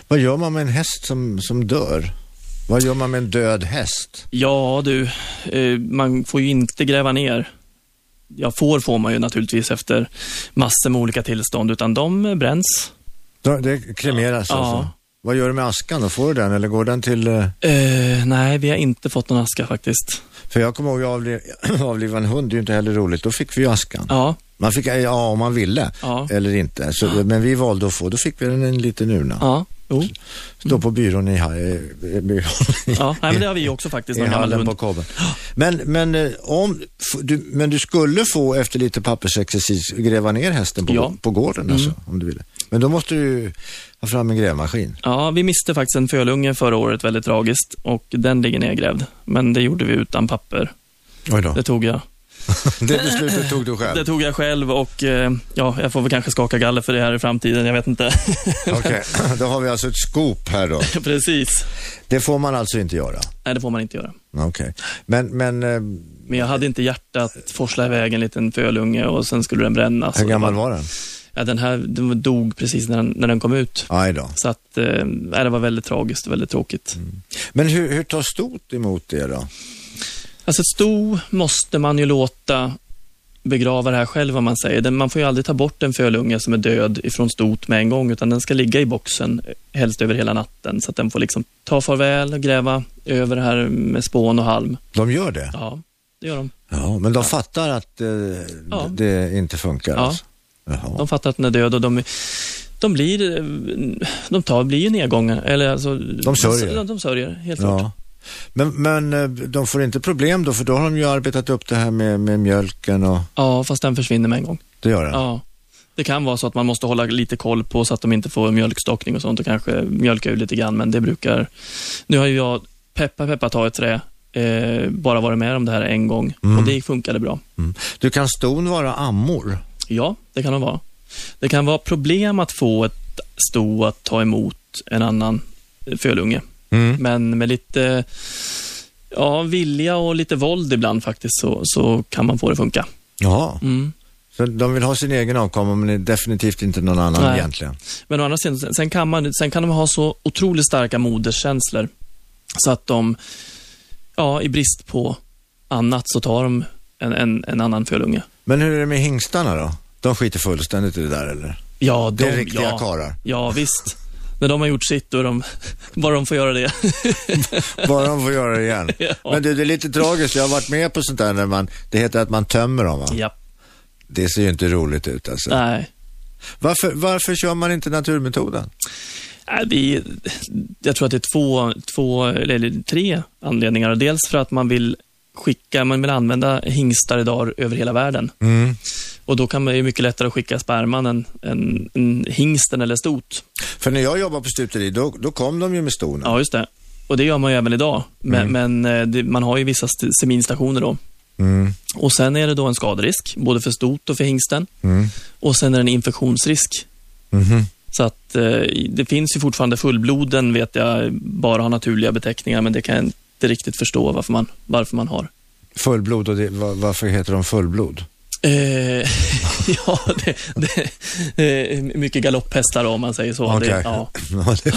B: Vad gör man med en häst som, som dör? Vad gör man med en död häst?
C: Ja du, eh, man får ju inte gräva ner. Ja, får får man ju naturligtvis efter massor med olika tillstånd, utan de eh, bränns.
B: Då- Det kremeras
C: Ja.
B: alltså? Vad gör du med askan då? Får du den eller går den till... eh,
C: Eh, nej, vi har inte fått någon aska faktiskt.
B: För jag kommer ihåg att avliv- avliva en hund, det är ju inte heller roligt. Då fick vi ju askan.
C: Ja,
B: Man fick, ja, om man ville
C: Ja.
B: eller inte. Så, men vi valde att få, då fick vi den i en liten urna.
C: ja, Mm. jo.
B: Stå på byrån i, ha- eh, byrån i,
C: Ja, nej, men det har vi också faktiskt,
B: i
C: någon gammal
B: hallen på
C: hund.
B: kobben. Men, men, eh, om, f- du, men du skulle få efter lite pappersexercis gräva ner hästen på,
C: Ja. Mm.
B: på gården alltså, om du ville. Men då måste du ha fram en grävmaskin.
C: Ja, vi miste faktiskt en fölunge förra året väldigt tragiskt och den ligger nedgrävd. Men det gjorde vi utan papper.
B: Oj då.
C: Det tog jag.
B: Det beslutet tog du
C: Det
B: själv.
C: tog jag själv och eh, ja, jag får väl kanske skaka galler för det här i framtiden. Jag vet inte.
B: Okej, då har vi alltså ett skop här då.
C: Precis.
B: Det får man alltså inte göra.
C: Nej, det får man inte göra.
B: Okej, men, men eh,
C: Men jag hade inte hjärta att forsla iväg en liten fölunge och sen skulle den brännas.
B: hur gammal var den?
C: Ja, den här den dog precis när den, när den kom ut.
B: Aj då.
C: Så att, eh, nej, det var väldigt tragiskt och väldigt tråkigt.
B: Mm. Men hur, hur tar stot emot det då?
C: Alltså ett sto måste man ju låta begrava det här själv, vad man säger. Den- Man får ju aldrig ta bort en fölunge som är död ifrån stot med en gång, utan den ska ligga i boxen, eh, helst över hela natten, så att den får liksom ta farväl och gräva över det här med spån och halm.
B: De gör det?
C: Ja, det gör de.
B: Ja, men de fattar att eh,
C: Ja.
B: det inte funkar
C: Ja.
B: alltså? Jaha.
C: De fattar att den är död och de, de blir, eh, de tar, blir ju nedgångar. Eller alltså, de
B: sörjer.
C: De, de sörjer, helt klart.
B: Ja. Men, men eh, de får inte problem då, för då har de ju arbetat upp det här med, med mjölken och
C: Ja, fast den försvinner med en gång.
B: det gör den.
C: Ja. Det kan vara så att man måste hålla lite koll på så att de inte får mjölkstockning och sånt och kanske mjölka ur lite grann, men det brukar... Nu har ju jag, peppa peppa ta ett trä, eh, bara varit med om det här en gång och det funkade bra.
B: Mm. Du, kan ston vara ammor?
C: Ja, det kan de vara. Det kan vara problem att få ett sto att ta emot en annan eh, fölunge. Men med lite ja, vilja och lite våld ibland faktiskt så, så kan man få det att funka.
B: Jaha,
C: Mm.
B: så de vill ha sin egen avkomma men det är definitivt inte någon annan
C: Nej.
B: egentligen.
C: Men å andra sidan, sen- sen kan, man, sen kan de ha så otroligt starka moderskänslor så att de, ja, i brist på annat så tar de en, en, en annan fölunge.
B: Men hur är det med hingstarna då? De skiter fullständigt i det där eller?
C: Ja, de,
B: Det är riktiga
C: ja,
B: karlar.
C: Ja, visst. När de har gjort sitt, då är de, bara de får göra det.
B: Bara de får göra det igen.
C: Ja.
B: Men du, det är lite tragiskt. Jag har varit med på sånt där när man, det heter att man tömmer dem va?
C: ja,
B: Det ser ju inte roligt ut alltså.
C: nej.
B: Varför, varför kör man inte naturmetoden?
C: Nej, Äh, Vi, jag tror att det är två, två, eller tre anledningar. Dels för att man vill skicka, man vill använda hingstar idag över hela världen. Och då kan man, det är mycket lättare att skicka sperman än, än, än hingsten eller stot.
B: För när jag jobbade på stuteri, då, då kom de ju med ston.
C: Ja, just det. Och det gör man ju även idag. Men, men eh, det, man har ju vissa st- seminstationer då.
B: Mm.
C: Och sen är det då en skaderisk, både för stot och för hingsten. Och sen är det en infektionsrisk.
B: Mhm.
C: Så att eh, det finns ju fortfarande fullbloden, vet jag, bara har naturliga beteckningar, men det kan jag inte riktigt förstå varför man, varför man har.
B: Fullblod, och det, va- varför heter de fullblod?
C: Eh, ja, det, det, eh, mycket galopphästar då, om man säger så.
B: Okej.
C: Det, ja.
B: Ja, det-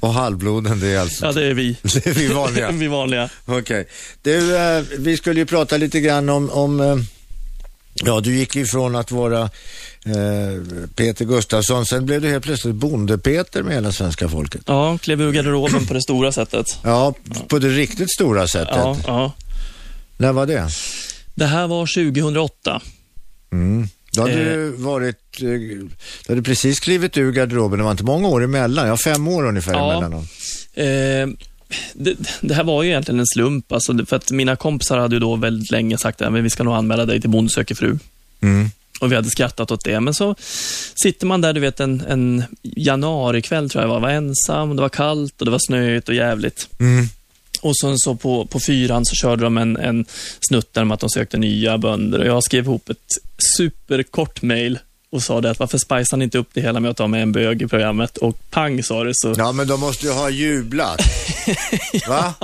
B: och halvbloden, det är alltså...
C: ja, det är vi.
B: Det är vi vanliga.
C: vi vanliga.
B: Okej. Du, eh, vi skulle ju prata lite grann om... om eh, ja, du gick ju från att vara eh, Peter Gustafsson, sen blev du helt plötsligt bonde-Peter med hela svenska folket.
C: Ja, klev ur garderoben på det stora sättet.
B: Ja, på det riktigt stora sättet.
C: Ja, ja.
B: När var det?
C: Det här var 2008.
B: Mm. Då hade
C: Eh.
B: du varit, eh, du hade precis klivit ur garderoben, det var inte många år emellan, jag har fem år ungefär
C: Ja.
B: emellan dem.
C: Eh, det, det här var ju egentligen en slump, alltså, det- för att mina kompisar hade ju då väldigt länge sagt att vi ska nog anmäla dig till Bonde söker fru.
B: Mm.
C: Och vi hade skrattat åt det, men så sitter man där, du vet, en, en januarikväll tror jag det var, var ensam, det var kallt och det var snöigt och jävligt.
B: Mm.
C: Och sen så på, på fyran så körde de en, en snutt där om att de sökte nya bönder och jag skrev ihop ett superkort mail och sa det att varför spicar ni inte upp det hela med att ta med en bög i programmet och pang sa det så.
B: Ja, men de måste ju ha jublat. Va?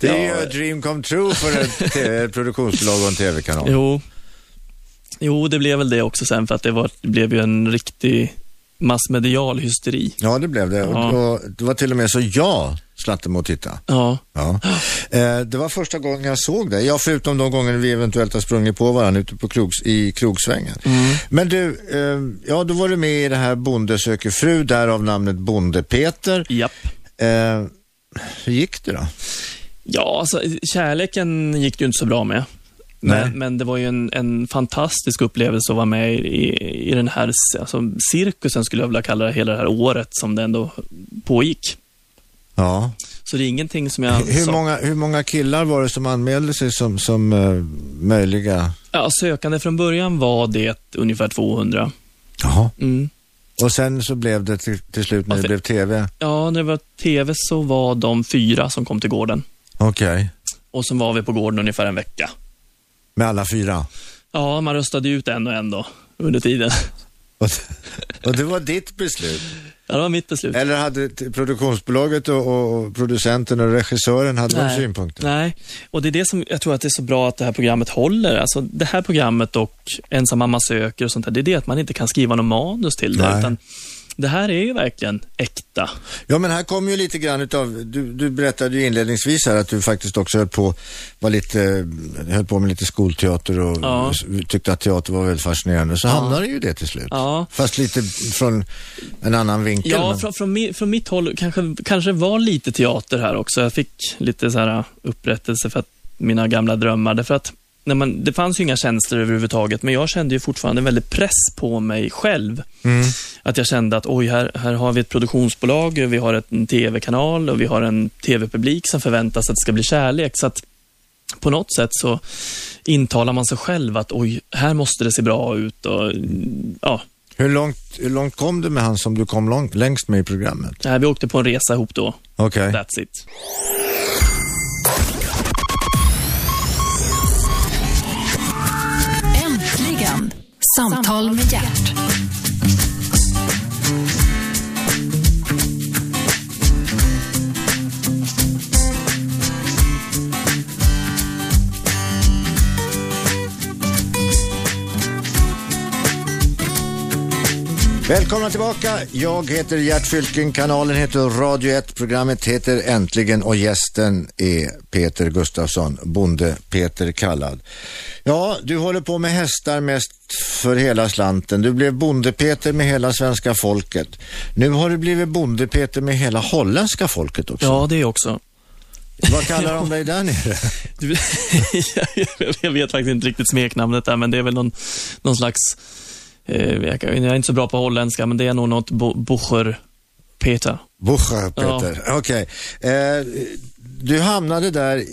B: Det är
C: Ja.
B: ju a dream come true för ett, TV, ett produktionsbolag och en tv-kanal.
C: Jo. jo, det blev väl det också sen för att det, var, det blev ju en riktig massmedial hysteri.
B: Ja, det blev det. Och,
C: Ja.
B: och det var till och med så jag slatte med att titta.
C: Ja,
B: Ja. Eh, det var första gången jag såg dig. Ja, förutom de gånger vi eventuellt har sprungit på varandra ute på krogs, i krogsvängen. Men du, eh, ja, då var du med i det här Bonde söker fru, därav namnet Bonde-Peter.
C: japp.
B: Eh, hur gick det då?
C: Ja, alltså, kärleken gick det ju inte så bra med.
B: Nej.
C: Men, men det var ju en, en fantastisk upplevelse att vara med i, i den här alltså, cirkusen, skulle jag vilja kalla det, hela det här året som det ändå pågick.
B: Ja.
C: Så det är ingenting som jag...
B: Hur
C: sa-
B: många, hur många killar var det som anmälde sig som, som eh, möjliga?
C: Ja, sökande från början var det ungefär 200.
B: Jaha.
C: Mm.
B: Och sen så blev det till, till slut när det
C: Varför-
B: blev tv?
C: Ja, när det var TV så var de fyra som kom till gården.
B: Okej.
C: Och sen var vi på gården ungefär en vecka.
B: Med alla fyra?
C: Ja, man röstade ju ut en och en då, under tiden.
B: Och, och det var ditt beslut?
C: Ja, det var mitt beslut.
B: Eller hade t- produktionsbolaget och, och, och producenten och regissören hade de synpunkter?
C: Nej, och det är det som jag tror att det är så bra att det här programmet håller. Alltså det här programmet och Ensam mamma söker och sånt där, det är det att man inte kan skriva någon manus till det.
B: Nej.
C: Utan det här är ju verkligen äkta.
B: Ja, men här kom ju lite grann utav, du, du berättade ju inledningsvis här att du faktiskt också höll på, var lite, höll på med lite skolteater och
C: Ja.
B: s- tyckte att teater var väldigt fascinerande. Så hamnade ju det till slut.
C: Ja.
B: Fast lite från en annan vinkel.
C: Ja,
B: men-
C: från, från, mi- från mitt håll kanske, kanske var lite teater här också. Jag fick lite så här upprättelse för att mina gamla drömmar. Därför att när man, det fanns ju inga känslor överhuvudtaget, men jag kände ju fortfarande en väldig press på mig själv.
B: Mm.
C: Att jag kände att oj, här, här har vi ett produktionsbolag, vi har ett, en tv-kanal och vi har en tv-publik som förväntas att det ska bli kärlek. Så att på något sätt så intalar man sig själv att oj, här måste det se bra ut och ja,
B: hur, långt, hur långt kom du med han som du kom lång, längst med i programmet?
C: Nej, vi åkte på en resa ihop då.
B: Okej.
C: That's it.
A: Äntligen! Samtal med hjärt.
B: Välkomna tillbaka. Jag heter Gert Fylking, kanalen heter Radio 1, programmet heter Äntligen och gästen är Peter Gustafsson, bonde Peter kallad. Ja, du håller på med hästar mest för hela slanten. Du blev bonde-Peter med hela svenska folket. Nu har du blivit bonde-Peter med hela holländska folket också.
C: Ja, det är också.
B: Vad kallar de dig där nere?
C: Du, jag vet faktiskt inte riktigt smeknamnet där, men det är väl någon, någon slags... Eh, jag, kan- jag är inte så bra på holländska, men det är nog något bo, Bucher Peter.
B: Bucha, Peter. Okej. Eh, du hamnade där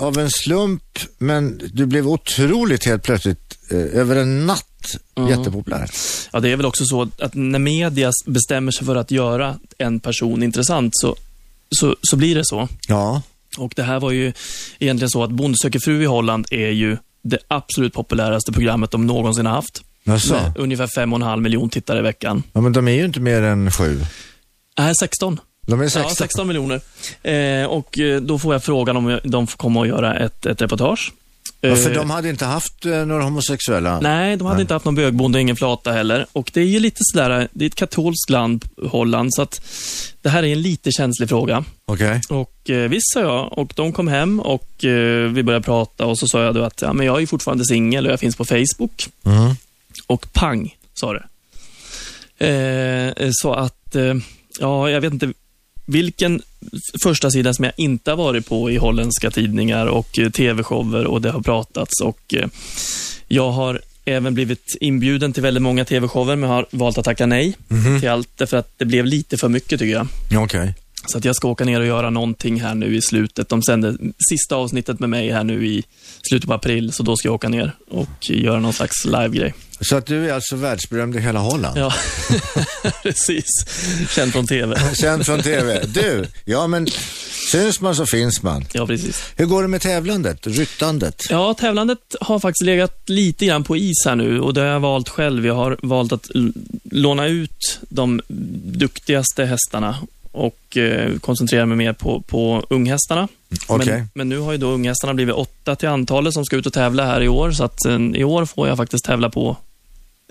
B: av en slump, men du blev otroligt helt plötsligt, eh, över en natt,
C: Mm.
B: jättepopulär.
C: Ja, det är väl också så att när media bestämmer sig för att göra en person intressant, så, så, så blir det så.
B: Ja.
C: Och det här var ju egentligen så att Bonde söker fru i Holland är ju det absolut populäraste programmet de någonsin har haft.
B: Jaså?
C: Med ungefär 5,5 miljon tittare i veckan.
B: Ja, men de är ju inte mer än sju.
C: Nej, 16.
B: De är 16.
C: Ja, 16 miljoner. Eh, och eh, då får jag frågan om jag- de får komma och göra ett, ett reportage.
B: Ja, för
C: Eh,
B: de hade inte haft eh, några homosexuella.
C: Nej, de hade inte haft någon bögbonde och ingen flata heller. Och det är ju lite sådär, det är ett katolskt land, Holland, så att det här är en lite känslig fråga.
B: Okej.
C: Och eh, visst sa jag, och de kom hem och eh, vi började prata och så sa jag då att ja, men jag är ju fortfarande singel och jag finns på Facebook.
B: Mhm.
C: Och pang, sa det. Eh, så att, eh, ja, jag vet inte vilken första sidan som jag inte har varit på i holländska tidningar och eh, tv-shower och det har pratats och eh, jag har även blivit inbjuden till väldigt många tv-shower men har valt att tacka nej till allt därför att det blev lite för mycket tycker jag.
B: Okej.
C: Så att jag ska åka ner och göra någonting här nu i slutet. De sände sista avsnittet med mig här nu i slutet på april, så då ska jag åka ner och göra någon slags live-grej.
B: Så att du är alltså världsberömd i hela Holland?
C: Ja, precis. Känd från TV.
B: Känd från TV. Du, ja men Syns man så finns man.
C: Ja, precis.
B: Hur går det med tävlandet, ryttandet?
C: Ja, tävlandet har faktiskt legat lite grann på is här nu och det har jag valt själv. Jag har valt att l- låna ut de duktigaste hästarna och eh, koncentrera mig mer på, på unghästarna.
B: Okej.
C: Men, men nu har ju då unghästarna blivit åtta till antalet som ska ut och tävla här i år, så att eh, i år får jag faktiskt tävla på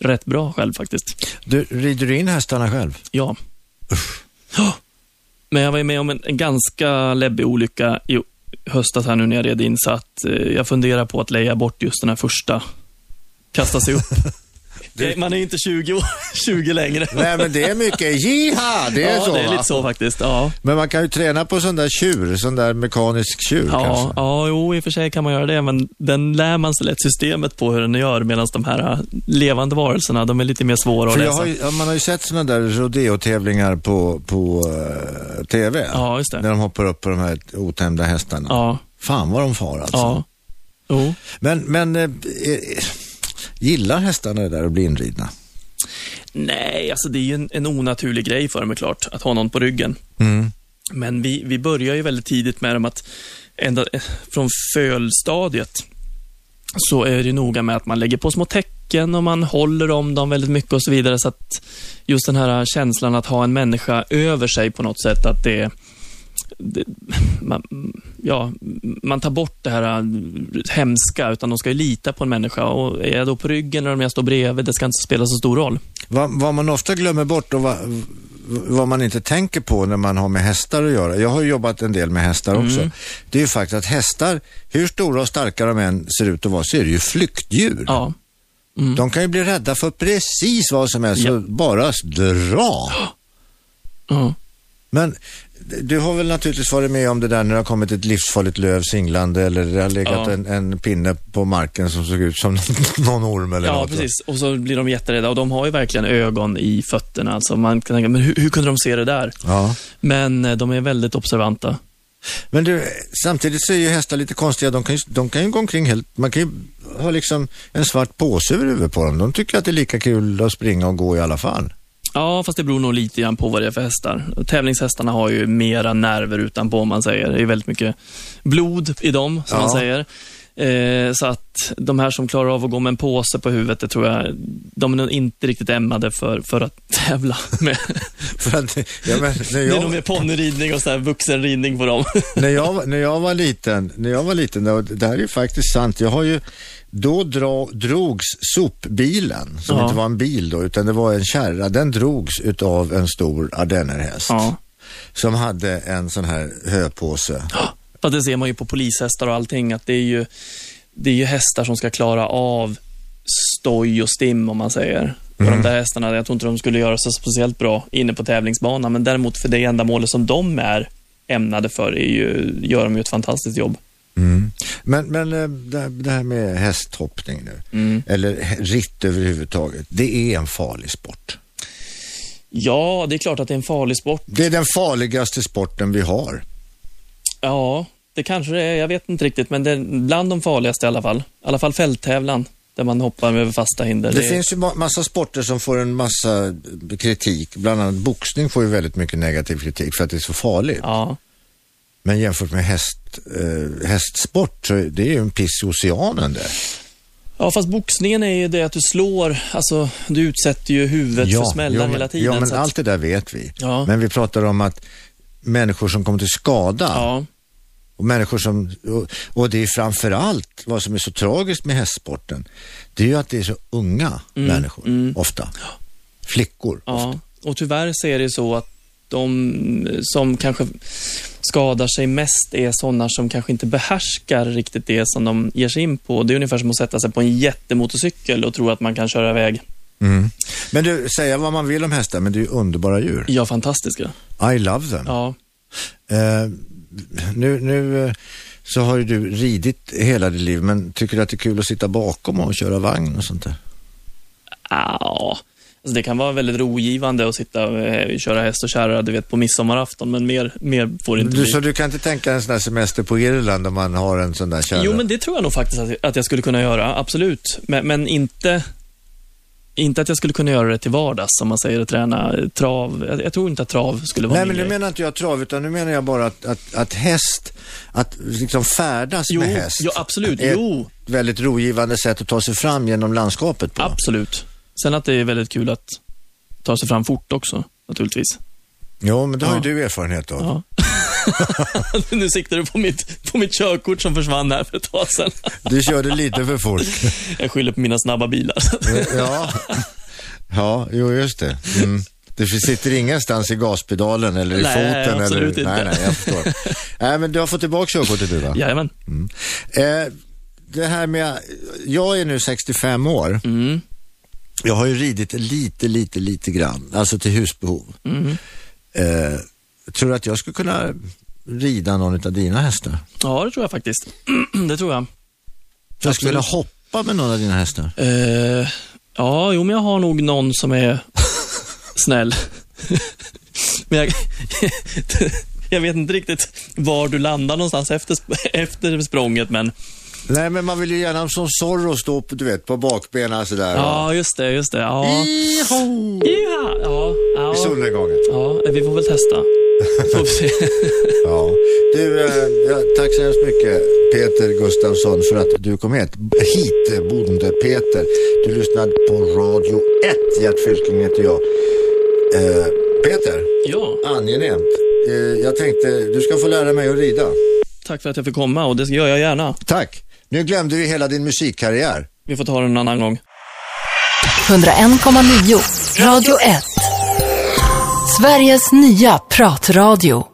C: rätt bra själv faktiskt.
B: Du, rider du in hästarna själv?
C: Ja. Ja. Men jag var ju med om en, en ganska läbbig olycka i höstas här nu när jag red in, så att eh, jag funderar på att leja bort just den här första. Kasta sig upp. Nej, Man är inte 20, år, 20 längre.
B: Nej, men det är mycket jiha, det är
C: ja,
B: så
C: det är
B: va?
C: lite så faktiskt. Ja,
B: Men man kan ju träna på sån där tjur, sån där mekanisk tjur
C: ja,
B: kanske.
C: ja jo, i och för sig kan man göra det, men den lär man sig lätt systemet på hur den gör, medan de här eh, levande varelserna, de är lite mer svåra att
B: För jag
C: läsa.
B: har ju, ja, man har ju sett såna där rodeo-tävlingar på, på eh, TV.
C: Ja, just det.
B: När de hoppar upp på de här otämjda hästarna.
C: Ja,
B: Fan vad de far alltså.
C: ja. Jo.
B: Men, men eh, eh, gillar hästarna det där att bli inridna?
C: Nej, alltså det är ju en, en onaturlig grej för dem är klart, att ha någon på ryggen.
B: Mm.
C: Men vi, vi börjar ju väldigt tidigt med dem att ända eh, från fölstadiet så är det ju noga med att man lägger på små tecken och man håller om dem väldigt mycket och så vidare. Så att just den här känslan att ha en människa över sig på något sätt, att det, det man, ja, man tar bort det här eh, hemska, utan de ska ju lita på en människa. Och är jag då på ryggen eller om jag står bredvid, det ska inte spela så stor roll.
B: Vad, vad man ofta glömmer bort och vad, vad man inte tänker på när man har med hästar att göra. Jag har ju jobbat en del med hästar
C: Mm.
B: också. Det är ju faktiskt att hästar, hur stora och starka de än ser ut att vara, så är det ju flyktdjur.
C: Ja, Mm.
B: De kan ju bli rädda för precis vad som helst
C: Ja.
B: och bara dra.
C: ja.
B: Men du har väl naturligtvis varit med om det där när det har kommit ett livsfarligt löv singlande eller det har legat
C: Ja.
B: en, en pinne på marken som såg ut som någon orm eller
C: Ja,
B: något.
C: precis. Och så blir de jätterädda och de har ju verkligen ögon i fötterna. Alltså man kan tänka, men hur, hur kunde de se det där?
B: Ja.
C: Men eh, de är väldigt observanta.
B: Men du, samtidigt så är ju hästar lite konstiga. De kan ju, de kan ju gå omkring helt... Man kan ju ha liksom en svart påse över huvudet på dem. De tycker att det är lika kul att springa och gå i alla fall.
C: Ja, fast det beror nog lite grann på vad det är för hästar. Tävlingshästarna har ju mera nerver utanpå, om man säger. Det är väldigt mycket blod i dem, som
B: Ja.
C: man säger. Eh, så att de här som klarar av att gå med en påse på huvudet, det tror jag, de är nog inte riktigt ämnade för, för att tävla med.
B: För att, ja, men, när
C: Det är nog
B: jag,
C: mer ponnyridning och så här vuxenridning på dem.
B: när, jag, när jag var liten, när jag var liten, det var- det här är ju faktiskt sant. Jag har ju, då dra, drogs sopbilen, som
C: Ja.
B: inte var en bil då, utan det var en kärra. Den drogs utav en stor ardennerhäst.
C: ja.
B: Som hade en sån här höpåse.
C: Fast det ser man ju på polishästar och allting, att det är ju, det är ju hästar som ska klara av stoj och stim, om man säger. Och
B: Mm.
C: de där hästarna, jag tror inte de skulle göra sig speciellt bra inne på tävlingsbanan, men däremot för det ändamålet som de är ämnade för, är ju, gör de ju ett fantastiskt jobb.
B: Mm. Men, men eh, det här- det här med hästhoppning nu,
C: Mm.
B: eller hä- ritt överhuvudtaget, det är en farlig sport.
C: Ja, det är klart att det är en farlig sport.
B: Det är den farligaste sporten vi har.
C: Ja, det kanske det är, jag vet inte riktigt, men det är bland de farligaste i alla fall. I alla fall fälttävlan, där man hoppar över fasta hinder.
B: Det
C: är-
B: finns ju ma- massa sporter som får en massa eh, kritik, bland annat boxning får ju väldigt mycket negativ kritik för att det är så farligt.
C: Ja.
B: Men jämfört med häst, eh, hästsport, så är- det är ju en piss i oceanen det.
C: Ja, fast boxningen är ju det att du slår, alltså du utsätter ju huvudet för
B: jo,
C: smällar
B: men-
C: hela tiden.
B: Ja, men
C: så att,
B: allt det där vet vi.
C: Ja.
B: Men vi pratar om att människor som kommer till skada,
C: ja,
B: Och människor som, och, och det är framför allt vad som är så tragiskt med hästsporten, det är ju att det är så unga människor ofta. Flickor.
C: Mm, ja. Och tyvärr så är det ju så att de som kanske skadar sig mest är sådana som kanske inte behärskar riktigt det som de ger sig in på. Det är ungefär som att sätta sig på en jättemotorcykel och tro att man kan köra iväg.
B: Mm. Men du, säga vad man vill om hästar, men det är ju underbara djur.
C: Ja, fantastiska.
B: I love them.
C: Ja,
B: Eh, nu nu eh, så har ju du ridit hela ditt liv, men tycker du att det är kul att sitta bakom och köra vagn och sånt där?
C: ja. Alltså det kan vara väldigt rogivande att sitta och köra häst och kärra, du vet, på midsommarafton, men mer, mer får det inte
B: Du,
C: bli.
B: så du kan inte tänka en sån där semester på Irland där man har en sån där kärra?
C: Jo, men det tror jag nog faktiskt att, att jag skulle kunna göra, absolut. Men, men inte, inte att jag skulle kunna göra det till vardags, som man säger, att träna eh, trav. Jag, jag tror inte att trav skulle vara min
B: Nej, men nu
C: grej.
B: menar inte jag trav, utan nu menar jag bara att, att, att häst, att liksom färdas
C: Jo,
B: med häst.
C: ja, absolut.
B: är
C: Jo.
B: Ett väldigt rogivande sätt att ta sig fram genom landskapet på.
C: Absolut. Sen att det är väldigt kul att ta sig fram fort också, naturligtvis.
B: Jo, men det har ju
C: Ja.
B: du erfarenhet av.
C: Ja. nu siktar du på mitt, på mitt körkort som försvann här för ett tag sedan.
B: Du körde lite för fort.
C: Jag skyller på mina snabba bilar.
B: ja. ja, jo just det. Mm. Det sitter ingenstans i gaspedalen eller i
C: Nej,
B: foten.
C: absolut
B: eller... Nej,
C: inte.
B: nej, jag förstår. nej, men du har fått tillbaka körkortet du va?
C: Jajamän.
B: Eh, det här med, jag är nu 65 år. Jag har ju ridit lite, lite, lite grann, alltså till husbehov. Eh, tror du att jag skulle kunna rida någon av dina hästar?
C: Ja, det tror jag faktiskt. det tror jag.
B: Jag skulle vilja hoppa med någon av dina hästar.
C: Eh, ja, jo, men jag har nog någon som är snäll. men jag, jag vet inte riktigt var du landar någonstans efter, sp- efter språnget, men
B: Nej, men man vill ju gärna som Zorro stå på, du vet, på bakbenen sådär.
C: ja, just det, just det. Ja,
B: Iho!
C: ja, ja,
B: I
C: ja,
B: solnedgången.
C: ja vi får väl testa. Får vi se.
B: Ja. Du, eh, ja, tack så hemskt mycket Peter Gustafsson för att du kom hit. hit eh, bonde Peter. Du lyssnade på Radio 1. Gert Fylking heter jag. Eh, Peter,
C: ja,
B: angenämt. Eh, jag tänkte, du ska få lära mig att rida.
C: tack för att jag fick komma och det gör jag gärna.
B: Tack. Nu glömde vi hela din musikkarriär.
C: Vi får ta det en annan gång.
A: 101,9. Radio 1. Sveriges nya pratradio.